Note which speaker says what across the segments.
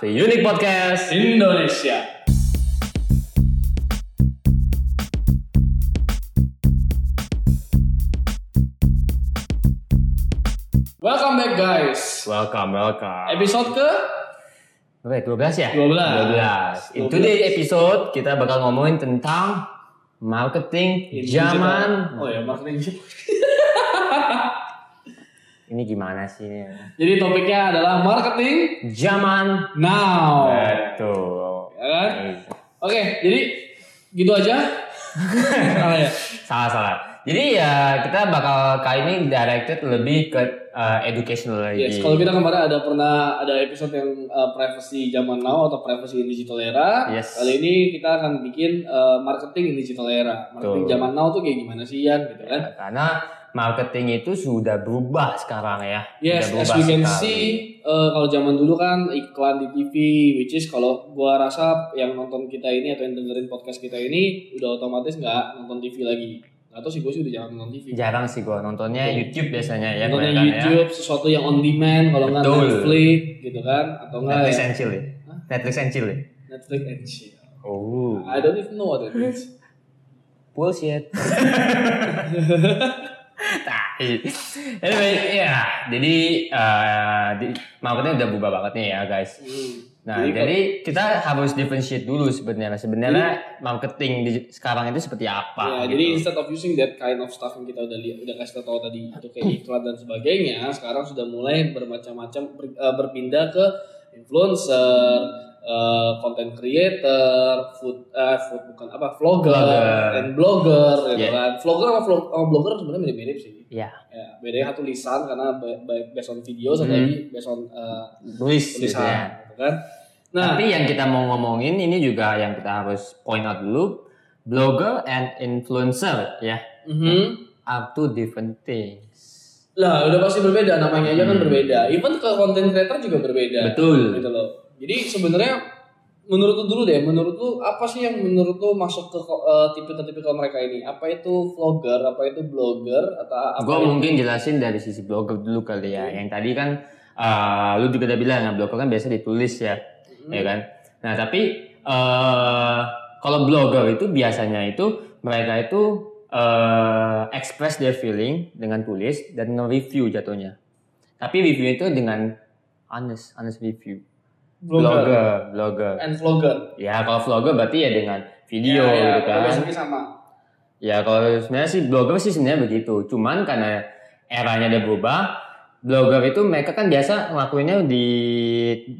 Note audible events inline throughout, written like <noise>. Speaker 1: The Unique Podcast.
Speaker 2: Indonesia. Welcome back guys.
Speaker 1: Welcome, welcome.
Speaker 2: Episode ke
Speaker 1: Berapa ya? 12 ya?
Speaker 2: 12.
Speaker 1: 12. In today's episode kita bakal ngomongin tentang marketing zaman.
Speaker 2: Oh ya, marketing.
Speaker 1: Ini gimana sih ini?
Speaker 2: Jadi topiknya adalah marketing
Speaker 1: Zaman.
Speaker 2: now.
Speaker 1: Nah. Betul.
Speaker 2: Ya kan? Oke, jadi gitu aja. Salah ya?
Speaker 1: Salah salah. Jadi ya kita bakal kali ini directed lebih ke uh, educational lagi.
Speaker 2: Yes, kalau gitu. kita kemarin ada pernah ada episode yang uh, privacy zaman now atau privacy in digital era.
Speaker 1: Yes.
Speaker 2: Kali ini kita akan bikin uh, marketing in digital era. Marketing
Speaker 1: Betul.
Speaker 2: zaman now tuh kayak gimana sih Yan gitu kan?
Speaker 1: Karena marketing itu sudah berubah sekarang ya.
Speaker 2: Yes,
Speaker 1: sudah
Speaker 2: as
Speaker 1: berubah
Speaker 2: we can
Speaker 1: sekali.
Speaker 2: see uh, kalau zaman dulu kan iklan di TV which is kalau gua rasa yang nonton kita ini atau yang dengerin podcast kita ini udah otomatis nggak nonton TV lagi. Atau sih gue sih udah jangan nonton TV.
Speaker 1: jarang sih gua nontonnya
Speaker 2: Betul.
Speaker 1: YouTube biasanya ya.
Speaker 2: Iya. Nontonnya
Speaker 1: kebanyakan ya.
Speaker 2: YouTube, sesuatu yang on demand, kalau nggak
Speaker 1: Betul.
Speaker 2: Netflix gitu kan, atau nggak
Speaker 1: Netflix
Speaker 2: ya,
Speaker 1: and chill ya?
Speaker 2: Hah?
Speaker 1: Netflix and chill ya?
Speaker 2: Netflix and chill.
Speaker 1: Oh.
Speaker 2: I don't even know what that means.
Speaker 1: Bullshit. <laughs> Tai. anyway, ya. Jadi eh di- marketnya udah berubah banget nih ya, guys. Nah, jadi, kita harus differentiate dulu sebenarnya. Sebenarnya marketing di sekarang itu seperti
Speaker 2: Ya,
Speaker 1: apa
Speaker 2: jadi
Speaker 1: gitu.
Speaker 2: instead of using that kind of stuff yang kita udah li- udah kasih tahu tadi itu kayak iklan dan sebagainya, sekarang sudah mulai bermacam-macam ber- eh, berpindah ke influencer, eh, content creator, food eh, food bukan apa vlogger,
Speaker 1: Vlogger.
Speaker 2: dan blogger gitu
Speaker 1: Yeah.
Speaker 2: kan. Vlogger sama, vlog, sama blogger sebenarnya mirip-mirip sih.
Speaker 1: Iya.
Speaker 2: Ya, bedanya satu lisan karena ba- ba- based on video, satu
Speaker 1: Hmm.
Speaker 2: lagi based on eh,
Speaker 1: Tulis gitu
Speaker 2: tulisan,
Speaker 1: ya.
Speaker 2: gitu kan. Nah,
Speaker 1: Tapi yang kita mau ngomongin ini juga yang kita harus point out dulu. Blogger and influencer ya.
Speaker 2: mhm.
Speaker 1: Are two different things.
Speaker 2: lah udah pasti berbeda namanya aja kan
Speaker 1: Hmm.
Speaker 2: berbeda even ke content creator juga berbeda
Speaker 1: Betul.
Speaker 2: gitu loh jadi sebenarnya menurut lu dulu deh menurut lu apa sih yang menurut lu masuk ke eh, tipikal-tipikal mereka ini apa itu vlogger apa itu blogger atau apa Hmm.
Speaker 1: Gue
Speaker 2: itu-
Speaker 1: mungkin jelasin dari sisi blogger dulu kali ya. Yang tadi kan eh, lu juga udah bilang ya blogger kan biasa ditulis ya,
Speaker 2: Hmm.
Speaker 1: ya kan. Nah tapi eh kalau blogger itu biasanya itu mereka itu eh express their feeling dengan tulis dan nge-review jatuhnya. Tapi review itu dengan honest, honest review.
Speaker 2: blogger
Speaker 1: Blogger, blogger.
Speaker 2: and vlogger
Speaker 1: Ya kalau vlogger berarti ya dengan video
Speaker 2: ya,
Speaker 1: gitu kan.
Speaker 2: basically sama
Speaker 1: Ya kalau sebenarnya sih blogger sih sebenarnya begitu. Cuman karena eranya udah berubah, blogger itu mereka kan biasa ngelakuinnya di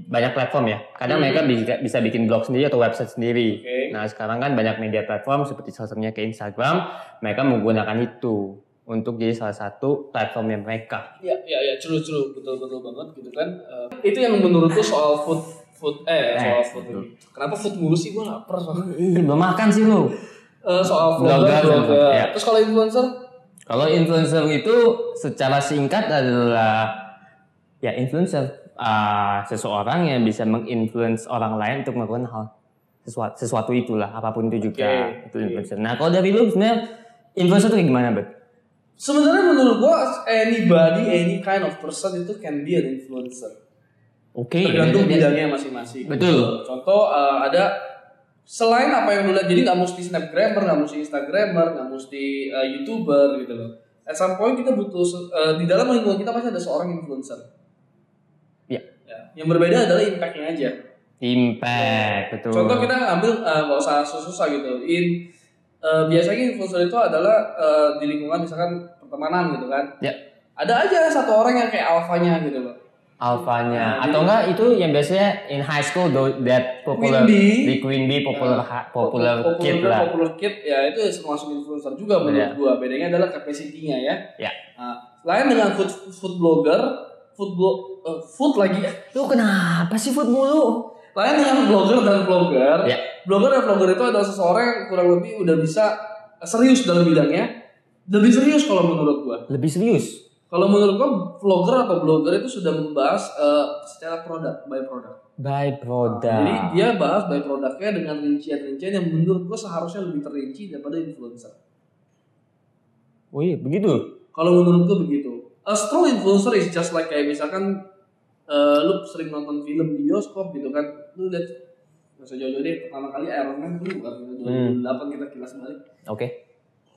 Speaker 1: banyak platform ya. Kadang
Speaker 2: Hmm.
Speaker 1: mereka bisa, bisa bikin blog sendiri atau website
Speaker 2: oke
Speaker 1: sendiri. Nah sekarang kan banyak media platform seperti salah satunya ke Instagram, mereka menggunakan itu untuk jadi salah satu platformnya mereka.
Speaker 2: ya ya ya true true betul betul banget gitu kan Eh, itu yang menurut lu soal food food eh
Speaker 1: Eh,
Speaker 2: soal food
Speaker 1: betul.
Speaker 2: kenapa food mulu sih gua lapar
Speaker 1: <laughs>
Speaker 2: soalnya.
Speaker 1: Belum makan sih lu.
Speaker 2: Eh, soal vlogger,
Speaker 1: Blogger,
Speaker 2: blogger.
Speaker 1: blogger, ya.
Speaker 2: terus kalau influencer
Speaker 1: Kalau influencer itu secara singkat adalah ya influencer ah, seseorang yang bisa menginfluence orang lain untuk melakukan hal sesuatu, sesuatu itulah apapun itu juga
Speaker 2: Oke,
Speaker 1: itu
Speaker 2: oke.
Speaker 1: influencer. Nah kalau dari lu sebenarnya influencer itu kayak gimana bet?
Speaker 2: Sebenarnya menurut gua anybody any kind of person itu can be an influencer.
Speaker 1: Oke.
Speaker 2: Tergantung
Speaker 1: beda-beda.
Speaker 2: bidangnya masing-masing.
Speaker 1: Iya, Betul.
Speaker 2: Contoh eh, ada selain apa yang lu lihat jadi nggak mesti snapgrammer, nggak mesti instagrammer, nggak mesti eh, youtuber gitu loh. At some point kita butuh se- eh, di dalam lingkungan kita pasti ada seorang influencer.
Speaker 1: Iya.
Speaker 2: Ya. Yang berbeda adalah impactnya aja.
Speaker 1: Impact betul.
Speaker 2: Contoh kita ngambil eh, nggak usah susah-susah gitu. In eh, biasanya influencer itu adalah eh, di lingkungan misalkan pertemanan gitu kan.
Speaker 1: Ya.
Speaker 2: Ada aja satu orang yang kayak alfanya gitu loh.
Speaker 1: alfanya
Speaker 2: Nah,
Speaker 1: atau
Speaker 2: jadi-
Speaker 1: enggak itu yang biasanya in high school tho- that popular
Speaker 2: Queen Bee.
Speaker 1: di Queen Bee popular ha- popular,
Speaker 2: Pop-
Speaker 1: kid
Speaker 2: popular-
Speaker 1: lah.
Speaker 2: Popular kid ya itu termasuk influencer juga menurut
Speaker 1: Iya.
Speaker 2: gua. Bedanya adalah capacity-nya ya.
Speaker 1: Ya.
Speaker 2: Nah, lain dengan food food blogger, food blog eh, food lagi ya.
Speaker 1: Lu kenapa sih food mulu?
Speaker 2: Lain dengan blogger dan vlogger.
Speaker 1: Ya.
Speaker 2: Blogger dan vlogger itu adalah seseorang yang kurang lebih udah bisa serius dalam bidangnya. Lebih serius kalau menurut gua.
Speaker 1: Lebih serius.
Speaker 2: Kalau menurut gua vlogger atau blogger itu sudah membahas eh, secara produk by produk.
Speaker 1: by product.
Speaker 2: Jadi dia bahas by produknya dengan rincian-rincian yang menurut gua seharusnya lebih terrinci daripada influencer.
Speaker 1: oh iya begitu.
Speaker 2: Kalau menurut gua begitu. A strong influencer is just like kayak misalkan eh, lu sering nonton film di bioskop gitu kan lu lihat nggak usah jauh-jauh deh pertama kali Iron Man dulu kan 2008 kita kilas balik
Speaker 1: Oke.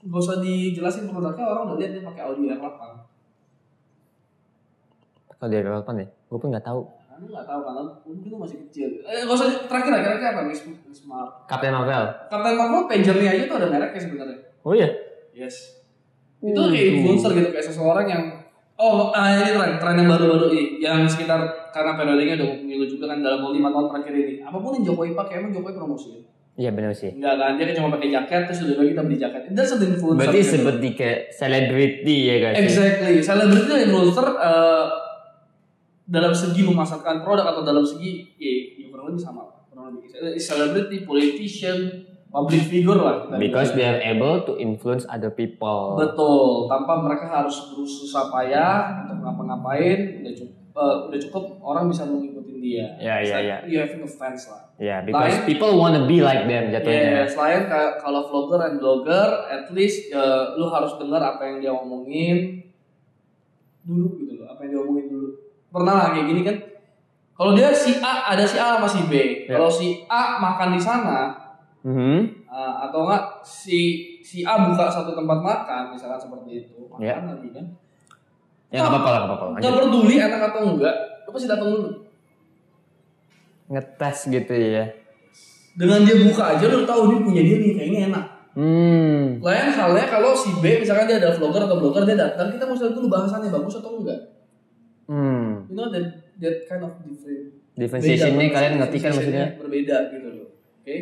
Speaker 2: nggak usah dijelasin produknya orang udah lihat dia pakai audio R8
Speaker 1: Kalau dari apa nih? Gue pun nggak tahu.
Speaker 2: Nah, lu nggak tahu kan mungkin lu masih kecil eh nggak usah terakhir lah kira-kira apa Miss Miss Marvel
Speaker 1: Captain Marvel.
Speaker 2: Captain Marvel pagernya aja tuh ada mereknya sebenarnya
Speaker 1: Oh iya.
Speaker 2: yes itu
Speaker 1: Hmm.
Speaker 2: kayak influencer gitu kayak seseorang yang oh ah, ini tren tren yang baru-baru ini yang sekitar karena periodenya udah mau pemilu juga kan dalam lima tahun terakhir ini apapun yang Jokowi pakai emang Jokowi promosi
Speaker 1: Iya benar sih.
Speaker 2: enggak kan dia cuma pakai jaket terus udah kita beli jaket that's an influencer
Speaker 1: Berarti
Speaker 2: gitu.
Speaker 1: seperti kayak selebriti ya guys.
Speaker 2: exactly selebriti dan influencer eh, dalam segi memasarkan produk atau dalam segi ya, ya kurang lebih sama kurang lebih selebriti politician public figure lah kita bilang.
Speaker 1: Because they are able to influence other people.
Speaker 2: Betul, tanpa mereka harus berusaha payah untuk ngapa-ngapain, udah cukup, eh, udah cukup orang bisa mengikuti dia.
Speaker 1: Ya ya ya.
Speaker 2: You having a fans lah.
Speaker 1: Ya, because people wanna be like them
Speaker 2: Ya,
Speaker 1: jatuhnya.
Speaker 2: selain ka- kalau vlogger dan blogger, at least ya, lu harus dengar apa yang dia omongin dulu gitu loh, apa yang dia omongin dulu. Pernah lah kayak gini kan? Kalau dia si A ada si A sama si B.
Speaker 1: Ya.
Speaker 2: Kalau si A makan di sana,
Speaker 1: Mhm.
Speaker 2: Uh, atau enggak si si A buka satu tempat makan misalkan seperti itu makan
Speaker 1: Ya.
Speaker 2: lagi kan
Speaker 1: Ya nggak apa-apa lah, nggak apa-apa.
Speaker 2: nggak
Speaker 1: Lanjut.
Speaker 2: peduli anak atau enggak lu pasti datang dulu
Speaker 1: Ngetes gitu ya.
Speaker 2: dengan dia buka aja lu tahu dia punya dia nih kayaknya enak
Speaker 1: Hmm.
Speaker 2: lain halnya kalau si B misalkan dia ada vlogger atau blogger dia datang kita mau lihat dulu bahasannya bagus atau enggak
Speaker 1: Hmm.
Speaker 2: you know that that kind of different
Speaker 1: Differentiation-nya
Speaker 2: Beda,
Speaker 1: kalian ngerti kan
Speaker 2: differentiation-nya
Speaker 1: maksudnya?
Speaker 2: berbeda gitu loh oke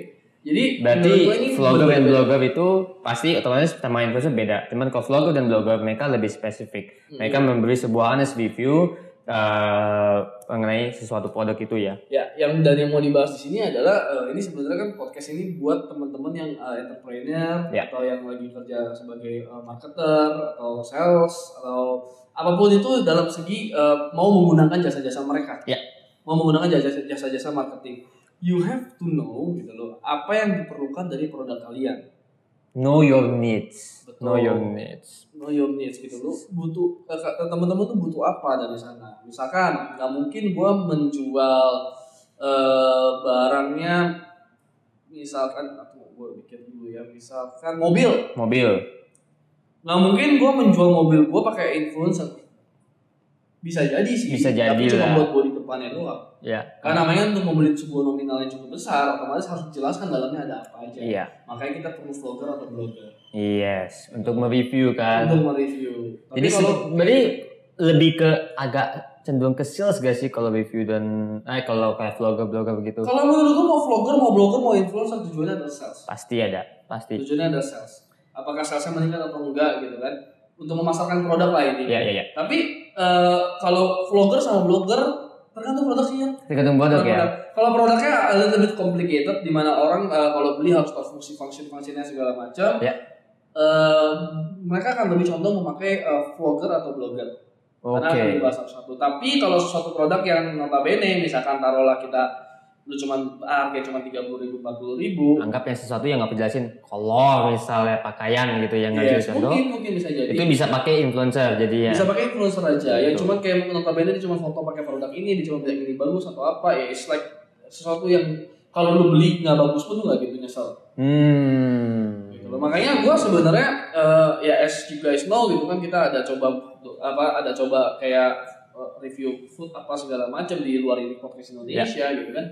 Speaker 2: jadi
Speaker 1: Berarti
Speaker 2: menurut gua ini
Speaker 1: vlogger dan
Speaker 2: berbeda.
Speaker 1: blogger itu pasti otomatis sama influencer beda. Cuman kalau vlogger dan blogger mereka lebih spesifik.
Speaker 2: Hmm.
Speaker 1: Mereka memberi sebuah honest review eh, mengenai sesuatu produk itu ya.
Speaker 2: Ya, yang dan yang mau dibahas di sini adalah eh, ini sebenarnya kan podcast ini buat teman-teman yang eh, entrepreneur
Speaker 1: Ya.
Speaker 2: atau yang lagi kerja sebagai eh, marketer atau sales atau apapun itu dalam segi eh, mau menggunakan jasa-jasa mereka.
Speaker 1: Ya.
Speaker 2: Mau menggunakan jasa- jasa-jasa marketing. You have to know gitu loh apa yang diperlukan dari produk kalian.
Speaker 1: Know your needs.
Speaker 2: Betul.
Speaker 1: Know your needs.
Speaker 2: Know your needs gitu loh. Butuh eh, ke- teman-teman tuh butuh apa dari sana. Misalkan nggak mungkin gua menjual eh, barangnya misalkan aku mau gue bikin dulu ya misalkan mobil
Speaker 1: Mobil.
Speaker 2: nggak mungkin gue menjual mobil gue pakai influencer bisa jadi sih
Speaker 1: Bisa jadi
Speaker 2: tapi cuma
Speaker 1: lah.
Speaker 2: buat gue di depannya doang
Speaker 1: Ya.
Speaker 2: karena namanya untuk membeli sebuah nominal yang cukup besar otomatis harus dijelaskan dalamnya ada apa aja
Speaker 1: Iya.
Speaker 2: makanya kita perlu vlogger atau blogger
Speaker 1: Yes. Untuk mereview kan.
Speaker 2: untuk mereview tapi
Speaker 1: Jadi
Speaker 2: kalau
Speaker 1: se- berarti lebih ke agak cenderung ke sales gak sih kalau review dan eh kalau kayak vlogger vlogger begitu
Speaker 2: kalau menurut gue mau vlogger mau blogger mau influencer tujuannya adalah sales
Speaker 1: pasti ada pasti
Speaker 2: tujuannya adalah sales apakah salesnya meningkat atau enggak gitu kan untuk memasarkan produk lah ini
Speaker 1: ya ya ya
Speaker 2: Tapi eh, kalau vlogger sama blogger tergantung produknya.
Speaker 1: tergantung produk ya
Speaker 2: Kalau produknya a little bit complicated, di mana orang eh, kalau beli harus tahu fungsi function fungsinya segala macam.
Speaker 1: Ya.
Speaker 2: Eh, mereka akan lebih condong memakai eh, vlogger atau blogger
Speaker 1: oke
Speaker 2: karena akan dibahas satu-satu. Tapi kalau sesuatu produk yang notabene, misalkan taruhlah kita lu cuman ah, harga cuma tiga puluh ribu empat puluh ribu
Speaker 1: anggap yang sesuatu yang nggak penjelasin kolor misalnya pakaian gitu yang nggak jelas
Speaker 2: ya,
Speaker 1: contoh
Speaker 2: Iya. mungkin mungkin bisa jadi
Speaker 1: itu bisa pakai influencer jadi ya
Speaker 2: bisa pakai influencer aja yang
Speaker 1: Betul.
Speaker 2: cuman kayak notabene dia cuma foto pakai produk ini dia cuma bilang ini bagus atau apa ya it's like sesuatu yang kalau lu beli nggak bagus pun lu nggak gitu nyesel
Speaker 1: hmm
Speaker 2: gitu loh. makanya gua sebenarnya eh, ya as you guys know gitu kan kita ada coba apa ada coba kayak eh, review food apa segala macam di luar ini podcast Indonesia gitu kan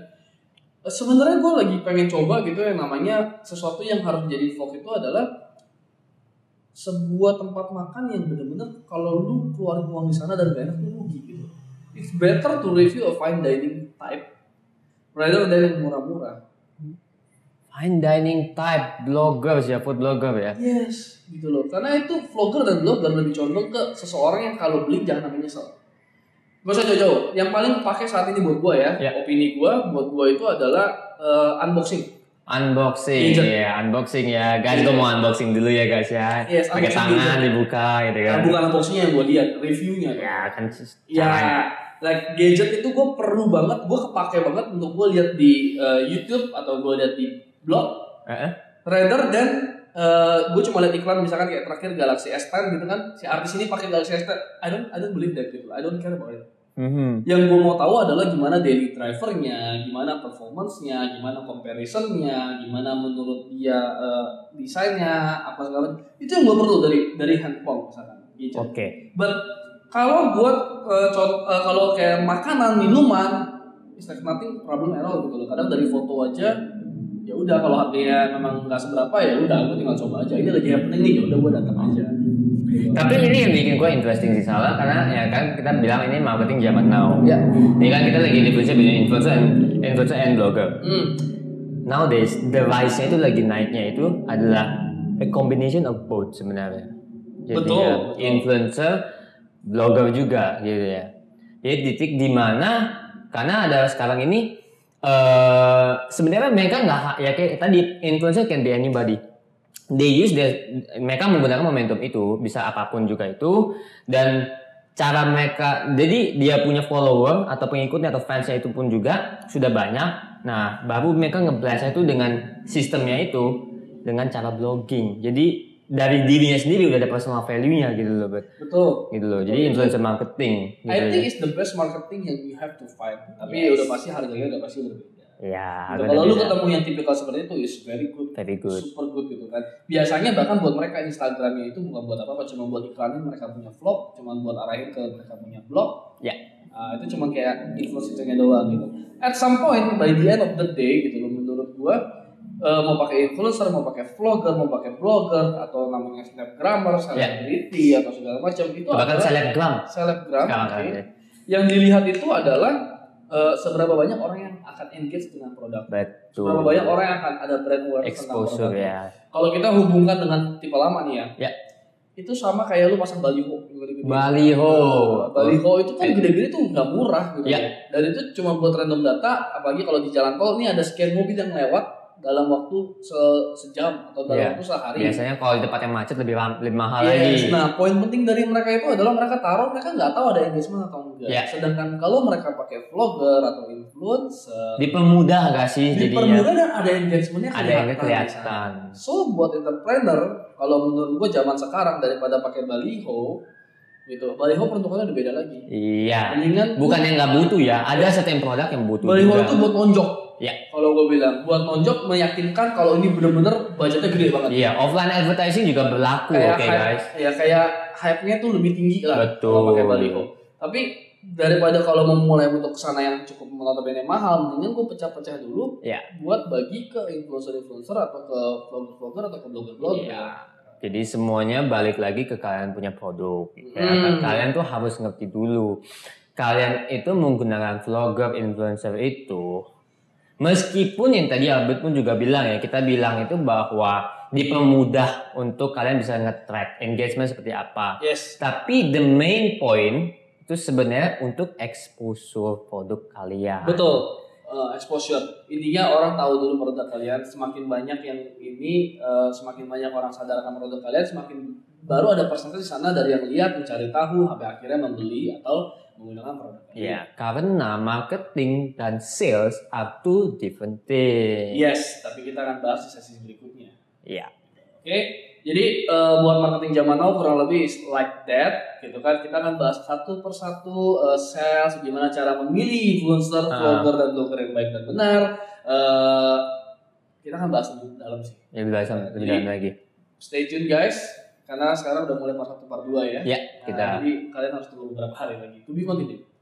Speaker 2: Eh, sebenarnya gua lagi pengen coba gitu yang namanya sesuatu yang harus jadi vlog itu adalah sebuah tempat makan yang bener-bener kalau lu keluarin uang di sana dan gak enak lu rugi gitu it's better to review a fine dining type rather than yang murah-murah
Speaker 1: fine dining type bloggers ya food blogger ya
Speaker 2: Yes, gitu loh. Karena itu vlogger dan blogger lebih condong ke seseorang yang kalau beli jangan sampai nyesel. Gak usah jauh-jauh. Yang paling pakai saat ini buat gua ya,
Speaker 1: Ya.
Speaker 2: opini gua buat gua itu adalah eh, unboxing.
Speaker 1: unboxing
Speaker 2: Gadget.
Speaker 1: ya unboxing ya guys gue mau unboxing dulu ya guys ya
Speaker 2: Yes,
Speaker 1: pakai
Speaker 2: unboxing
Speaker 1: tangan
Speaker 2: gadget.
Speaker 1: dibuka gitu kan
Speaker 2: Nah, bukan unboxingnya yang gua lihat, reviewnya.
Speaker 1: ya kan
Speaker 2: Ya,
Speaker 1: caranya.
Speaker 2: like gadget itu gua perlu banget, gua kepake banget untuk gua lihat di eh, YouTube atau gua lihat di blog
Speaker 1: Heeh.
Speaker 2: rather than eh, gua cuma lihat iklan misalkan kayak terakhir Galaxy S10 gitu kan si artis ini pakai Galaxy S10 I don't I don't believe that gitu I don't care about it
Speaker 1: Mhm.
Speaker 2: Yang gue mau tahu adalah gimana daily drivernya, gimana performance-nya, gimana comparison-nya, gimana menurut dia eh, desainnya, apa segala macam. Itu yang gue perlu dari dari handphone misalkan. Gadget.
Speaker 1: Oke.
Speaker 2: But kalau buat eh, con- eh, kalau kayak makanan, minuman, it's like nothing problem at all gitu loh. Kadang dari foto aja ya udah kalau harganya memang nggak seberapa ya udah gue tinggal coba aja ini lagi happening nih ya udah gue datang aja Gitu.
Speaker 1: Tapi ini yang bikin gue interesting sih salah karena ya kan kita bilang ini marketing zaman now.
Speaker 2: ya
Speaker 1: Ini kan kita lagi differentiate between influencer and influencer and blogger.
Speaker 2: hmm.
Speaker 1: Nowadays, the rise-nya itu lagi naiknya itu adalah a combination of both sebenarnya. Jadi
Speaker 2: Betul,
Speaker 1: ya,
Speaker 2: betul.
Speaker 1: influencer, blogger juga gitu ya. Jadi titik di mana karena ada sekarang ini eh sebenarnya mereka nggak ya kayak tadi influencer can be anybody. They use their, mereka menggunakan momentum itu bisa apapun juga itu dan cara mereka jadi dia punya follower atau pengikutnya atau fansnya itu pun juga sudah banyak nah baru mereka ngeblastnya itu dengan sistemnya itu dengan cara blogging jadi dari dirinya sendiri udah ada personal value nya gitu loh Bet.
Speaker 2: betul
Speaker 1: gitu loh jadi influencer marketing gitu
Speaker 2: I
Speaker 1: ya.
Speaker 2: think it's the best marketing yang you have to find. Tapi
Speaker 1: Yes.
Speaker 2: udah pasti harganya udah pasti berbeda.
Speaker 1: ya
Speaker 2: Gitu.
Speaker 1: agak
Speaker 2: Kalau lu
Speaker 1: beda.
Speaker 2: ketemu yang tipikal seperti itu is very good, kan?
Speaker 1: very good
Speaker 2: super good gitu kan. Biasanya bahkan buat mereka Instagramnya itu bukan buat apa-apa, cuma buat iklanin mereka punya vlog, cuma buat arahin ke mereka punya blog.
Speaker 1: Ya.
Speaker 2: Nah, itu cuma kayak influencernya doang gitu. At some point by the end of the day gitu loh menurut gua eh, mau pakai influencer, mau pakai vlogger, mau pakai blogger atau namanya snapgrammer, selebriti atau segala macam itu
Speaker 1: Ya. bahkan
Speaker 2: adalah
Speaker 1: selebgram
Speaker 2: selebgram.
Speaker 1: sekarang kan
Speaker 2: oke
Speaker 1: ya.
Speaker 2: yang dilihat itu adalah eh, seberapa banyak orang yang akan engage dengan produk.
Speaker 1: betul
Speaker 2: Seberapa banyak orang yang akan ada brand awareness tentang
Speaker 1: exposure
Speaker 2: produk.
Speaker 1: ya
Speaker 2: Kalau kita hubungkan dengan tipe lama nih ya.
Speaker 1: Ya.
Speaker 2: Itu sama kayak lu pasang baliho yang gede-gede.
Speaker 1: baliho
Speaker 2: Nah, Baliho itu kan gede-gede tuh nggak murah gitu.
Speaker 1: Ya.
Speaker 2: Dan itu cuma buat random data, apalagi kalau di jalan tol nih ada sekian mobil yang lewat dalam waktu se- sejam atau dalam
Speaker 1: Ya.
Speaker 2: waktu sehari.
Speaker 1: biasanya kalau di tempat yang macet lebih, ram- lebih mahal
Speaker 2: Yes,
Speaker 1: lagi
Speaker 2: nah poin penting dari mereka itu adalah mereka taruh mereka nggak tahu ada engagement atau enggak.
Speaker 1: Ya.
Speaker 2: Sedangkan kalau mereka pakai vlogger atau influencer,
Speaker 1: dipermudah gak sih jadinya
Speaker 2: dipermudah dan ada engagementnya
Speaker 1: ada yang nggak
Speaker 2: di sana.
Speaker 1: kelihatan
Speaker 2: So buat entrepreneur, kalau menurut gue zaman sekarang daripada pakai baliho, gitu, baliho peruntukannya udah beda lagi.
Speaker 1: iya
Speaker 2: Mendingan
Speaker 1: bukan yang nggak butuh ya ada certain produk yang butuh
Speaker 2: baliho
Speaker 1: juga
Speaker 2: itu buat nonjok.
Speaker 1: Ya.
Speaker 2: Kalau gue bilang buat nonjok meyakinkan kalau ini bener-bener budgetnya gede banget.
Speaker 1: iya offline advertising juga berlaku Iya, oke
Speaker 2: kayak hype,
Speaker 1: guys
Speaker 2: ya kayak hype-nya tuh lebih tinggi lah
Speaker 1: Betul.
Speaker 2: kalau pakai baliho. Tapi daripada kalau memulai untuk kesana yang cukup notabene mahal, mendingan gue pecah-pecah dulu
Speaker 1: Ya.
Speaker 2: buat bagi ke influencer-influencer atau ke vlogger-vlogger atau ke blogger-blogger.
Speaker 1: Iya. jadi semuanya balik lagi ke kalian punya produk ya.
Speaker 2: Hmm.
Speaker 1: kalian tuh harus ngerti dulu kalian itu menggunakan vlogger influencer itu meskipun yang tadi Albert pun juga bilang ya kita bilang itu bahwa dipermudah untuk kalian bisa nge-track engagement seperti apa
Speaker 2: Yes.
Speaker 1: Tapi the main point itu sebenarnya untuk exposure produk kalian.
Speaker 2: Betul. Eh, exposure. Intinya orang tahu dulu produk kalian. Semakin banyak yang ini, eh, semakin banyak orang sadar akan produk kalian, semakin baru ada persentase di sana dari yang lihat mencari tahu sampai akhirnya membeli atau menggunakan produk kalian.
Speaker 1: Ya, karena marketing dan sales are two different things.
Speaker 2: Yes, tapi kita akan bahas di sesi berikutnya.
Speaker 1: Iya.
Speaker 2: Oke, jadi eh, buat marketing zaman now kurang lebih is like that, gitu kan? Kita akan bahas satu persatu eh, sales, gimana cara memilih influencer,
Speaker 1: Ah.
Speaker 2: vlogger, dan blogger yang baik dan benar. Eh, kita akan bahas lebih dalam sih.
Speaker 1: Lebih dalam, lebih dalam lagi.
Speaker 2: Stay tune guys, karena sekarang udah mulai part satu part 2 ya.
Speaker 1: Ya,
Speaker 2: Nah,
Speaker 1: kita
Speaker 2: jadi kalian harus tunggu beberapa hari lagi. To be continued.